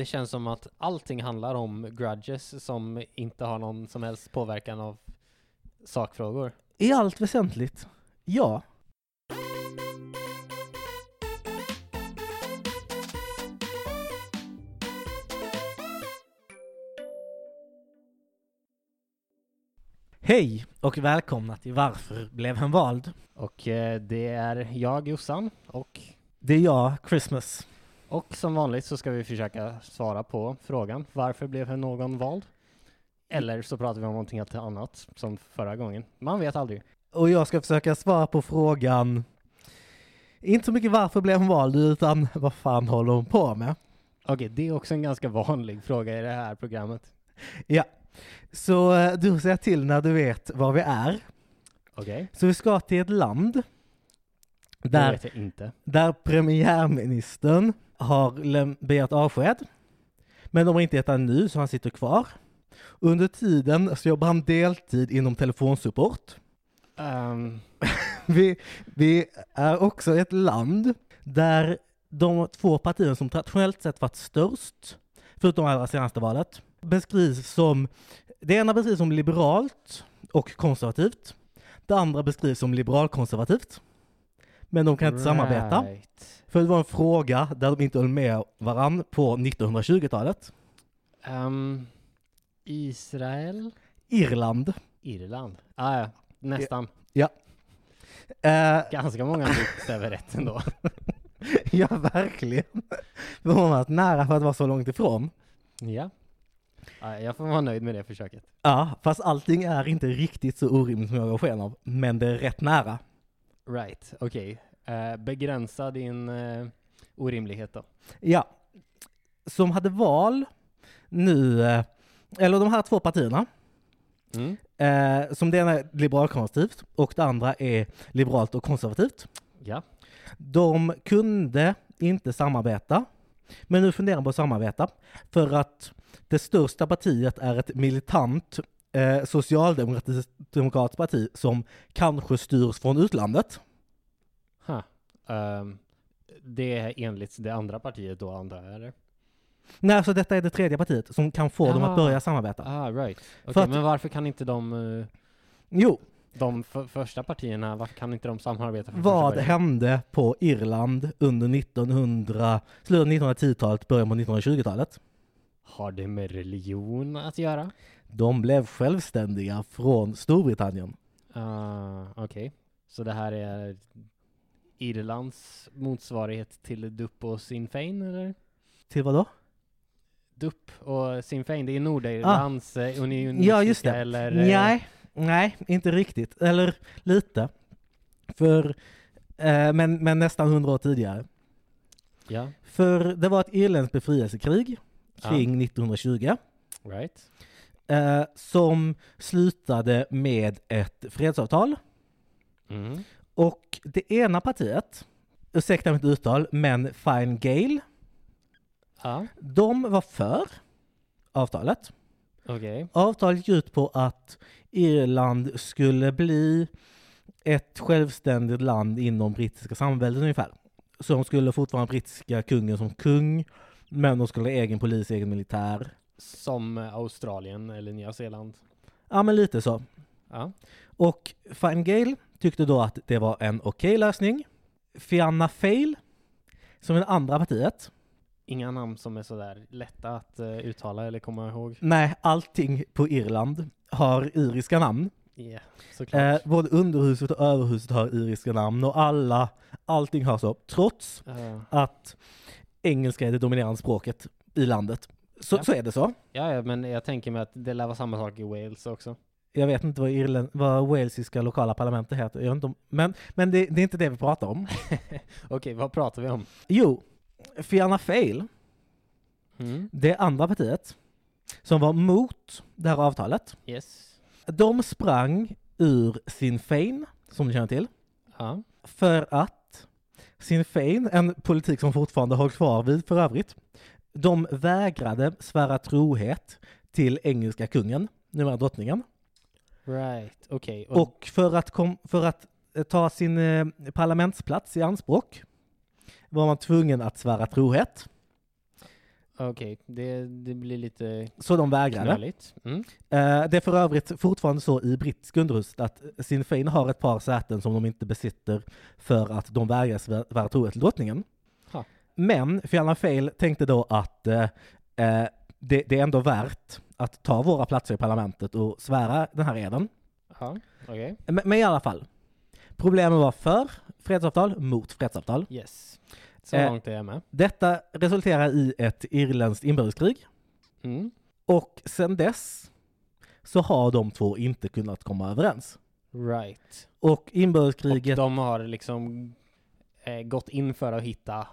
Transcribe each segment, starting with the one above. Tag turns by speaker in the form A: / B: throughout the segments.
A: Det känns som att allting handlar om grudges som inte har någon som helst påverkan av sakfrågor.
B: I allt väsentligt, ja. Hej och välkomna till Varför blev han vald?
A: Och eh, det är jag, Jossan, och,
B: Det är jag, Christmas.
A: och som vanligt så ska vi försöka svara på frågan varför blev någon vald? Eller så pratar vi om någonting helt annat, som förra gången. Man vet aldrig.
B: Och jag ska försöka svara på frågan, inte så mycket varför blev han vald, utan vad fan håller hon på med?
A: Okej, det är också en ganska vanlig fråga i det här programmet.
B: Så eh, du säger till när du vet var vi är.
A: Okej,
B: Så vi ska till ett land
A: det
B: där,
A: vet jag inte.
B: där premiärministern har läm- begärt avsked. Men de har inte gett han nu, så han sitter kvar. Under tiden så jobbar han deltid inom telefonsupport.
A: Ehm,
B: Vi, vi är också ett land där de två partierna som traditionellt sett varit störst, förutom allra senaste valet, beskrivs som, det ena beskrivs som liberalt och konservativt. Det andra beskrivs som liberalkonservativt. Men de kan inte samarbeta.
A: Ehm, right.
B: För det var en fråga där de inte höll med varann på 1920-talet.
A: Ehm, Israel?
B: Irland.
A: Irland? Ah, ja, nästan.
B: Eh,
A: Ganska många bokstäver rätt ändå.
B: ja, verkligen. Förvånat nära för att vara så långt ifrån.
A: Ja. Ah, jag får vara nöjd med det försöket.
B: Ja, fast allting är inte riktigt så orimligt som jag gav sken av, men det är rätt nära.
A: Right, okej. Eh, begränsa din eh, orimlighet då.
B: Ja, som hade val nu, eh, eller de här två partierna,
A: Mm.
B: eh, som det ena är liberalkonservativt och det andra är liberalt och konservativt.
A: Ja.
B: De kunde inte samarbeta, men nu funderar de på att samarbeta för att det största partiet är ett militant eh, socialdemokratiskt parti som kanske styrs från utlandet.
A: Huh. Ehm, det är enligt det andra partiet då, antar jag? eller?
B: Nej, så detta är det tredje partiet som kan få dem
A: Ah.
B: att börja samarbeta.
A: Ah, right. Okej,
B: För att-
A: men varför kan inte de, eh,
B: Jo,
A: de f- första partierna, varför kan inte de samarbeta? från första
B: vad
A: början?
B: hände på Irland under 1900, slutet av 1910-talet, början på 1920-talet?
A: Har det med religion att göra?
B: De blev självständiga från Storbritannien.
A: Ah, Okej, så det här är Irlands motsvarighet till DUP och Sinn Fein, eller?
B: Till vad då?
A: DUP och Sinn Fein, det är Nordirlands ah. unionistiska
B: Ja, just det.
A: eller... eh,
B: Nej, nej, inte riktigt. Eller lite. För, eh, men, men nästan hundra år tidigare.
A: Ja,
B: För det var ett irländskt befrielsekrig
A: Ja.
B: kring 1920.
A: right.
B: eh, som slutade med ett fredsavtal.
A: Mm.
B: Och det ena partiet, ursäkta mitt uttal, men Fine Gael,
A: Ja,
B: de var för avtalet.
A: okej.
B: Avtalet gick ut på att Irland skulle bli ett självständigt land inom brittiska samväldet ungefär. Så de skulle fortfarande ha brittiska kungen som kung, men de skulle ha egen polis, egen militär.
A: Som eh, Australien eller Nya Zeeland.
B: Ja, men lite så.
A: Ja.
B: Och Fine Gael tyckte då att det var en okej lösning. Fianna Fail, som är det andra partiet.
A: Inga namn som är sådär lätta att eh, uttala eller komma ihåg.
B: Nej, allting på Irland har iriska namn.
A: Ja, såklart.
B: Eh, både underhuset och överhuset har iriska namn och alla, allting har så. Trots
A: Eh,
B: att engelska är det dominerande språket i landet. Så,
A: Ja.
B: så är det så.
A: ja, ja, men jag tänker mig att det lär vara samma sak i Wales också.
B: Jag vet inte vad, Irland, vad walesiska lokala parlamentet heter, jag vet inte om, men, men det, det är inte det vi pratar om.
A: Okej, vad pratar vi om?
B: Jo, Fianna Fail
A: Mm.
B: det andra partiet som var mot det här avtalet,
A: Yes.
B: de sprang ur Sinn Fein, som du känner till,
A: Ja.
B: för att Sinn Fein, en politik som fortfarande håller kvar vid för övrigt, de vägrade svära trohet till engelska kungen, numera drottningen.
A: Right, okej. Och,
B: Och för att, kom, för att eh, ta sin eh, parlamentsplats i anspråk var man tvungen att svära trohet.
A: Okej, det, det blir lite
B: Så de vägrade.
A: knöligt. Mm.
B: Eh, det är för övrigt fortfarande så i brittisk underhuset att Sinn Féin har ett par säten som de inte besitter för att de vägrar svära trohet till drottningen.
A: Ha.
B: Men Fianna Fail tänkte då att eh, eh, det, det är ändå värt att ta våra platser i parlamentet och svära den här eden.
A: Ja, okej.
B: Men, men i alla fall, problemen var för fredsavtal mot fredsavtal.
A: Yes. Så
B: Eh.
A: långt är jag med.
B: Detta resulterar i ett irländskt inbördeskrig
A: Mm.
B: och sedan dess så har de två inte kunnat komma överens.
A: Right.
B: Och
A: Och
B: inbördeskriget,
A: de har liksom eh, gått in för att hitta,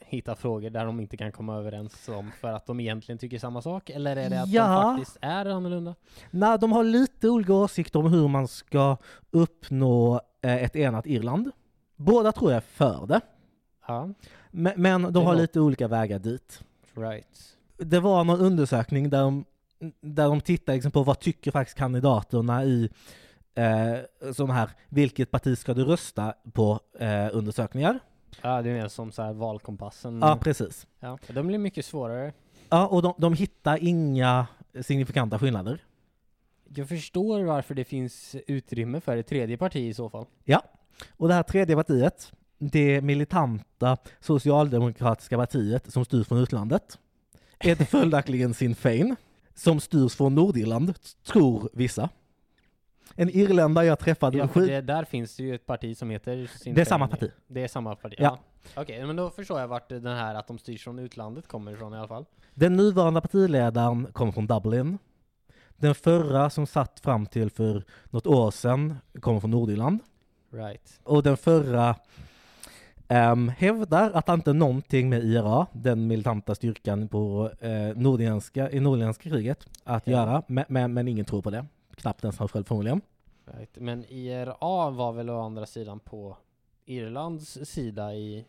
A: hitta frågor där de inte kan komma överens om för att de egentligen tycker samma sak? Eller är det att
B: Ja.
A: de faktiskt är annorlunda?
B: nej de har lite olika åsikter om hur man ska uppnå eh, ett enat Irland. Båda tror jag är för det,
A: Ja,
B: men, men
A: Det
B: de har
A: låter-
B: lite olika vägar dit.
A: right.
B: Det var någon undersökning där de, där de tittade liksom på vad tycker faktiskt kandidaterna i eh, sådana här vilket parti ska du rösta på eh, undersökningar.
A: Mm. Ja, det är mer som så här valkompassen.
B: Ja, precis.
A: Ja, de blir mycket svårare.
B: Ja, och de, de hittar inga signifikanta skillnader.
A: Jag förstår varför det finns utrymme för ett tredje parti i så fall.
B: Och det här tredje partiet, det militanta socialdemokratiska partiet som styrs från utlandet, är det följaktligen Sinn Fein, som styrs från Nordirland, tror vissa. En irländare jag träffade,
A: Ja,
B: ja,
A: för det, där finns det ju ett parti som heter Sinn
B: det är samma
A: Féin.
B: parti.
A: Det är samma parti?
B: Ja.
A: Ja. Okej, men då förstår jag vart den här att de styrs från utlandet kommer ifrån i alla fall.
B: Den nuvarande partiledaren kommer från Dublin. Den förra som satt fram till för något år sedan kommer från Nordirland.
A: Right.
B: Och den förra ehm, hävdar att han inte har någonting med IRA, den militanta styrkan på, eh, nordirländska, i nordirländska kriget, att
A: Ja.
B: göra. Men, men, men ingen tror på det. Knappt ens han själv förmodligen.
A: right. Men IRA var väl å andra sidan på Irlands sida i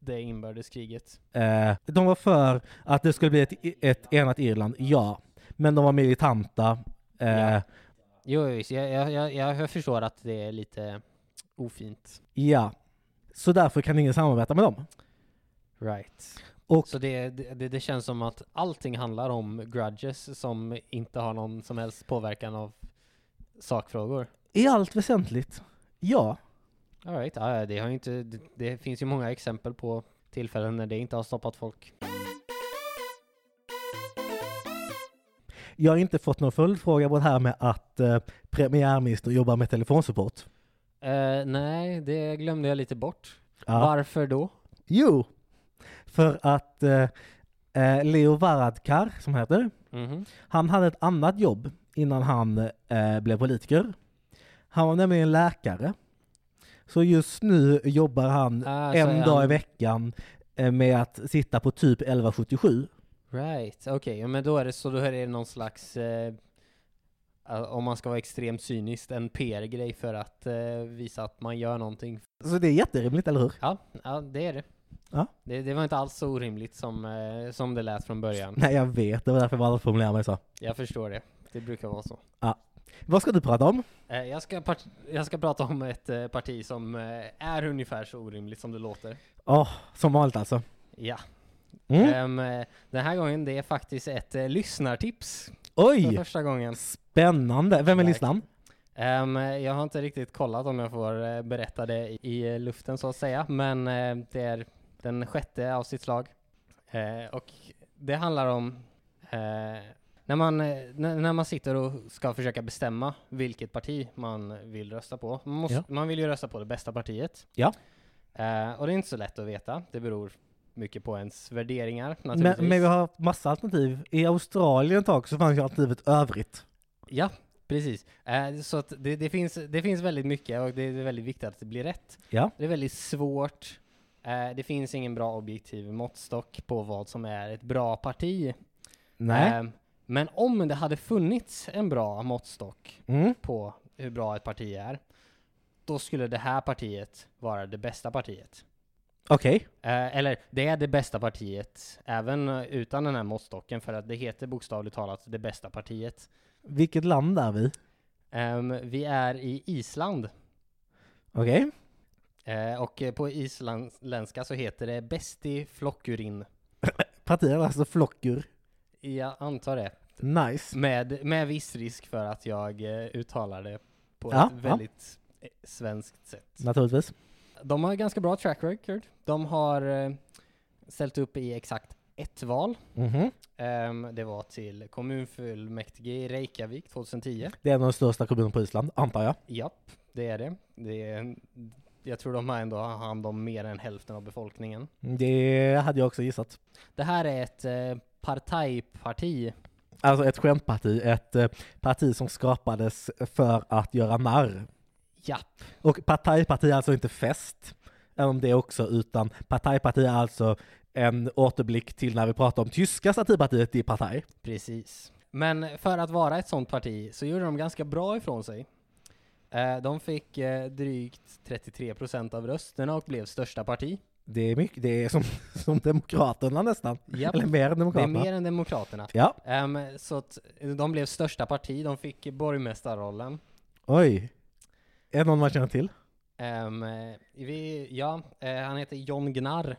A: det inbördeskriget?
B: Eh, de var för att det skulle bli ett, ett enat Irland, ja. Men de var militanta. Eh,
A: Ja.
B: ja.
A: Jo, jo, visst. jag, jag, jag, jag förstår att det är lite ofint.
B: Så därför kan ingen samarbeta med dem.
A: Right.
B: Och-
A: Så det, det, det känns som att allting handlar om grudges som inte har någon som helst påverkan av sakfrågor?
B: I allt väsentligt, ja.
A: All right, ja, ja, det, har ju inte, det, det finns ju många exempel på tillfällen när det inte har stoppat folk.
B: Jag har inte fått någon följdfråga på det här med att eh, premiärminister jobbar med telefonsupport.
A: Eh, nej, det glömde jag lite bort.
B: Ja.
A: Varför då?
B: Jo, för att eh, eh, Leo Varadkar, som han heter,
A: Mhm.
B: han hade ett annat jobb innan han eh, blev politiker. Han var nämligen läkare. Så just nu jobbar han
A: Ah, så
B: en
A: är
B: dag i
A: han-
B: veckan eh, med att sitta på typ 1177.
A: Right, okej, ja, men då är det så då är det någon slags, eh, eh, om man ska vara extremt cyniskt, en PR-grej för att eh, visa att man gör någonting.
B: Så det är jätterimligt, eller hur?
A: Ja, ja det är det.
B: Ja.
A: det. Det var inte alls så orimligt som, eh, som det lät från början.
B: Nej, jag vet. Det var därför jag valde att formulera mig så.
A: Jag förstår det. Det brukar vara så.
B: Vad ska du prata om?
A: Eh, Jag ska, part- jag ska prata om ett eh, parti som eh, är ungefär så orimligt som det låter.
B: Ja, som vanligt alltså.
A: Ja.
B: Mm.
A: Ehm, eh, den här gången, det är faktiskt ett eh, lyssnartips för
B: Oj,
A: första gången.
B: spännande. Vem är
A: Verkligen.
B: listan?
A: Ehm, eh, jag har inte riktigt kollat om jag får eh, berätta det i, i eh, luften så att säga, men eh, det är den sjätte av sitt slag. Eh, och det handlar om eh, när, man, eh, när, när man sitter och ska försöka bestämma vilket parti man vill rösta på. Man, måste,
B: Ja.
A: man vill ju rösta på det bästa partiet.
B: Ja.
A: Eh, och det är inte så lätt att veta. Det beror mycket på ens värderingar
B: Men,
A: naturligtvis.
B: men vi har massa alternativ. I Australien ett tag så fanns ju alternativet övrigt.
A: Ja, precis. Eh, så att det, det, finns, det finns väldigt mycket och det är väldigt viktigt att det blir rätt.
B: Ja.
A: Det är väldigt svårt. Eh, det finns ingen bra objektiv måttstock på vad som är ett bra parti. Eh, men om det hade funnits en bra måttstock
B: Mm.
A: på hur bra ett parti är, då skulle det här partiet vara det bästa partiet.
B: Okej.
A: Eh, eller det är det bästa partiet även eh, utan den här måttstocken för att det heter bokstavligt talat det bästa partiet.
B: Vilket land är vi?
A: Ehm, vi är i Island.
B: Okej.
A: Eh, och eh, på isländska så heter det Besti Flockurin.
B: partierna, alltså flocker.
A: Jag antar det.
B: Nice.
A: Med, med viss risk för att jag eh, uttalar det på
B: Ja,
A: ett
B: ja.
A: väldigt eh, svenskt sätt.
B: Naturligtvis.
A: De har ganska bra track record. De har eh, ställt upp i exakt ett val.
B: Mhm.
A: Ehm, det var till kommunfullmäktige i Reykjavik 2010.
B: Det är en av de största kommunerna på Island, antar jag.
A: Japp, det är det. det är, jag tror de här ändå har hand om mer än hälften av befolkningen.
B: Det hade jag också gissat.
A: Det här är ett eh, partajparti.
B: Alltså ett skämtparti, ett eh, parti som skapades för att göra narr.
A: Japp,
B: Och partajparti är alltså inte fest, även om det också, utan partajparti är alltså en återblick till när vi pratar om tyska satirpartiet i Partaj.
A: precis. Men för att vara ett sånt parti så gjorde de ganska bra ifrån sig. Eh, de fick eh, drygt 33 procent av rösterna och blev största parti.
B: Det är mycket, det är som, som Demokraterna nästan.
A: Japp,
B: Eller mer än
A: det är
B: Demokraterna.
A: mer än Demokraterna.
B: Ja,
A: Ehm, så att de blev största parti, de fick borgmästarrollen.
B: oj. Är det någon man känner till?
A: Ehm, eh, vi, ja, eh, han heter John Gnarr.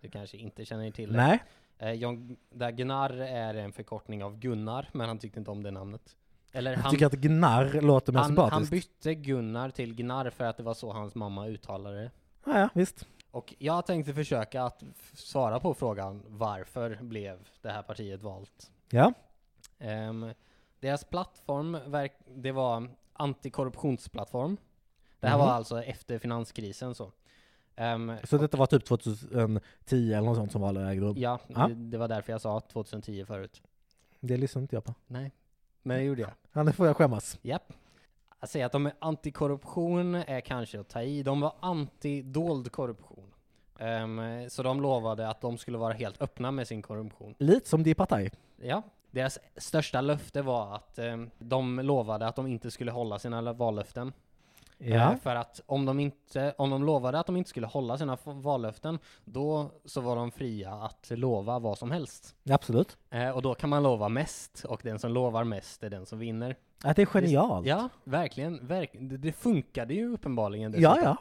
A: Du kanske inte känner till det.
B: Nej.
A: Eh, John, där Gnarr är en förkortning av Gunnar, men han tyckte inte om det namnet. Eller
B: Jag
A: han,
B: tycker att gnarr låter mer
A: han, han
B: sympatiskt.
A: bytte Gunnar till Gnarr för att det var så hans mamma uttalade det.
B: Ja, ja, visst.
A: Och jag tänkte försöka att f- svara på frågan varför blev det här partiet valt?
B: Ja.
A: Ehm, deras plattform, verk, det var antikorruptionsplattform. Det här
B: Mhm.
A: var alltså efter finanskrisen så. Ehm,
B: Så detta var typ 2010 eller något sånt som valet ägde rum.
A: ja,
B: Ja.
A: Det, det var därför jag sa 2010 förut.
B: Det lyssnade inte jag på.
A: Nej, men det gjorde jag.
B: Ja, nu får jag skämmas.
A: Japp. Att säga att de är antikorruption är kanske att ta i. De var anti-dold korruption. Ehm, så de lovade att de skulle vara helt öppna med sin korruption.
B: Lite som Di Partaj.
A: Ja, deras största löfte var att ehm, de lovade att de inte skulle hålla sina l- vallöften. Eh, för att om de, inte, om de lovade att de inte skulle hålla sina f- vallöften, då så var de fria att lova vad som helst.
B: absolut.
A: Eh, och då kan man lova mest, och den som lovar mest är den som vinner.
B: Att det är genialt.
A: Ja, verkligen. Verk det, det funkade ju uppenbarligen.
B: ja.
A: dessutom.
B: ja.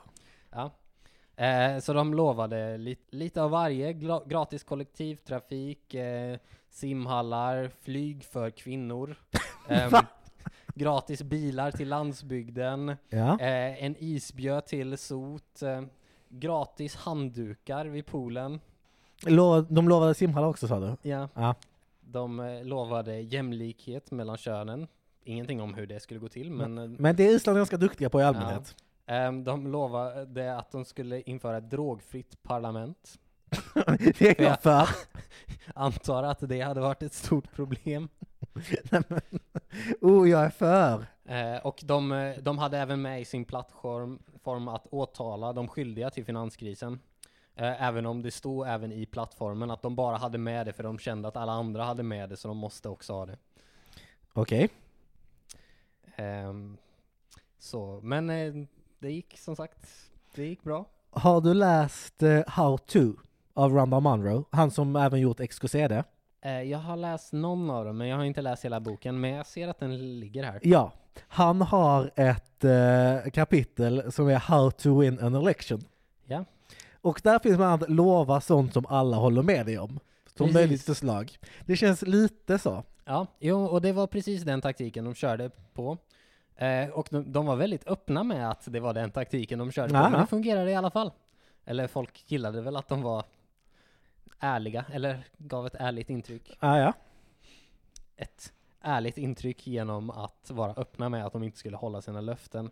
A: Ja. Eh, så de lovade li lite av varje. Gla gratis kollektivtrafik, eh, simhallar, flyg för kvinnor. ehm,
B: Va?
A: gratis bilar till landsbygden.
B: ja.
A: Eh, en isbjö till sot. Eh, gratis handdukar vid poolen.
B: Lo- De lovade simhallar också sa du?
A: Ja.
B: Ja.
A: De eh, lovade jämlikhet mellan könen. Ingenting om hur det skulle gå till, men eh,
B: Men det är Island ganska duktiga på i allmänhet.
A: Ehm, de lovade att de skulle införa ett drogfritt parlament.
B: det är jag för.
A: Antar att det hade varit ett stort problem.
B: Nej, men. oh, jag är för.
A: Eh, och de, eh, de hade även med i sin plattform form att åtala de skyldiga till finanskrisen. Eh, även om det stod även i plattformen att de bara hade med det för de kände att alla andra hade med det så de måste också ha det.
B: Okej.
A: Ehm, så, men eh, det gick som sagt, det gick bra.
B: Har du läst eh, How to av Randall Munro? Han som även gjort XKCD?
A: Eh, jag har läst någon av dem, men jag har inte läst hela boken. Men jag ser att den ligger här.
B: Ja. Han har ett eh, kapitel som är How to win an election.
A: Ja.
B: Och där finns bland annat lova sånt som alla håller med dig om. Som
A: Precis.
B: möjligt förslag. Det känns lite så.
A: Ja, jo, och det var precis den taktiken de körde på. Eh, och de, de var väldigt öppna med att det var den taktiken de körde på,
B: Ja,
A: men
B: ja.
A: det fungerade i alla fall. Eller folk gillade väl att de var ärliga, eller gav ett ärligt intryck.
B: Ah, ja.
A: Ett ärligt intryck genom att vara öppna med att de inte skulle hålla sina löften.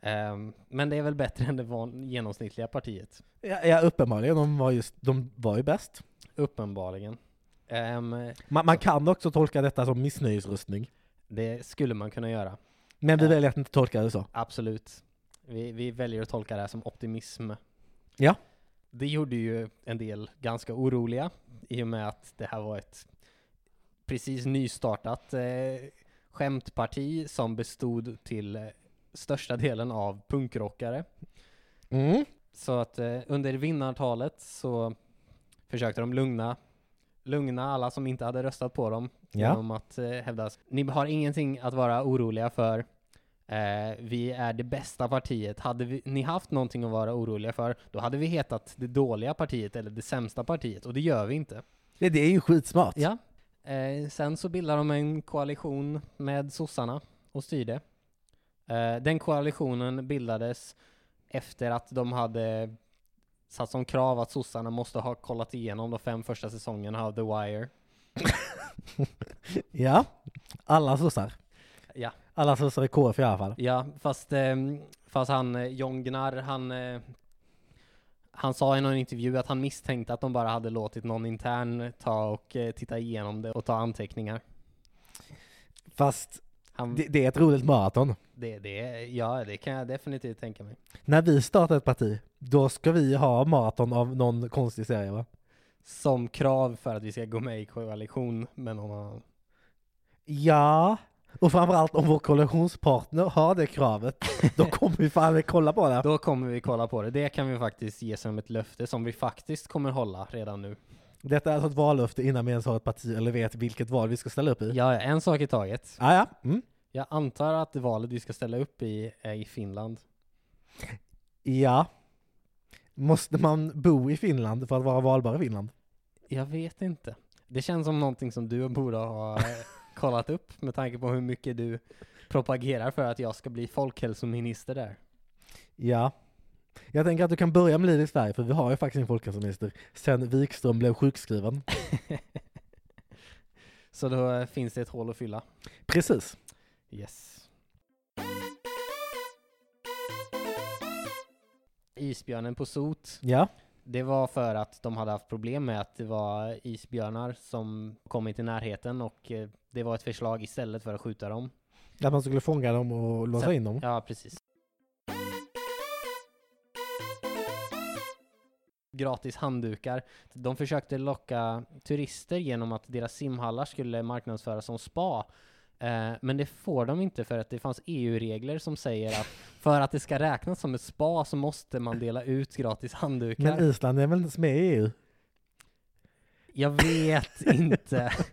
A: Ehm, men det är väl bättre än det van- genomsnittliga partiet.
B: Ja, ja, uppenbarligen. De var, just, de var ju bäst.
A: Uppenbarligen. Ehm,
B: Man, man kan också tolka detta som missnöjesröstning.
A: det skulle man kunna göra,
B: Men vi
A: Ja.
B: väljer att inte tolka det så.
A: absolut. Vi, vi väljer att tolka det här som optimism.
B: Ja.
A: Det gjorde ju en del ganska oroliga i och med att det här var ett precis nystartat eh, skämtparti som bestod till eh, största delen av punkrockare.
B: Mm.
A: Så att eh, under vinnartalet så försökte de lugna, lugna alla som inte hade röstat på dem
B: Ja.
A: genom att eh, hävda att ni har ingenting att vara oroliga för. Eh, vi är det bästa partiet. Hade vi, ni haft någonting att vara oroliga för, då hade vi hetat det dåliga partiet eller det sämsta partiet och det gör vi inte.
B: Det, det är ju skitsmart.
A: Ja. Eh, sen så bildar de en koalition med sossarna och styrde. Eh, den koalitionen bildades efter att de hade satt som krav att sossarna måste ha kollat igenom de fem första säsongerna av The Wire.
B: Ja. Alla sossar.
A: Ja.
B: Alla sossar i KF i alla fall.
A: Ja, fast, eh, fast han eh, John Gnarr, han, eh, han sa i någon intervju att han misstänkte att de bara hade låtit någon intern ta och eh, titta igenom det och ta anteckningar.
B: Fast
A: Han,
B: det, det är ett roligt maraton.
A: det, det, ja, det kan jag definitivt tänka mig.
B: När vi startar ett parti, då ska vi ha maraton av någon konstig serie va?
A: Som krav för att vi ska gå med i koalition med någon annan.
B: Ja. Och framförallt om vår koalitionspartner har det kravet, då kommer vi fan kolla på det.
A: Då kommer vi kolla på det. Det kan vi faktiskt ge som ett löfte som vi faktiskt kommer hålla redan nu.
B: Detta är alltså ett vallöfte innan vi ens har ett parti eller vet vilket val vi ska ställa upp i.
A: Ja, en sak i taget.
B: Ah, ja. Mm.
A: Jag antar att det valet vi ska ställa upp i är i Finland.
B: ja. Måste man bo i Finland för att vara valbar i Finland?
A: Jag vet inte. Det känns som någonting som du borde ha eh, kollat upp med tanke på hur mycket du propagerar för att jag ska bli folkhälsominister där.
B: Ja. Jag tänker att du kan börja med Lidl i Sverige, för vi har ju faktiskt en folkhälsominister sen Wikström blev sjukskriven.
A: Så då eh, finns det ett hål att fylla.
B: Precis.
A: Yes. Isbjörnen på sot.
B: Ja.
A: Det var för att de hade haft problem med att det var isbjörnar som kommit i närheten och eh, det var ett förslag istället för att skjuta dem.
B: Att man skulle fånga dem och låsa
A: Sen-
B: in dem.
A: Ja, precis. Gratis handdukar. De försökte locka turister genom att deras simhallar skulle marknadsföras som spa. Eh, Men det får de inte för att det fanns EU-regler som säger att för att det ska räknas som ett spa så måste man dela ut gratis handdukar.
B: E Men Island är väl inte ens med i EU?
A: Jag vet inte.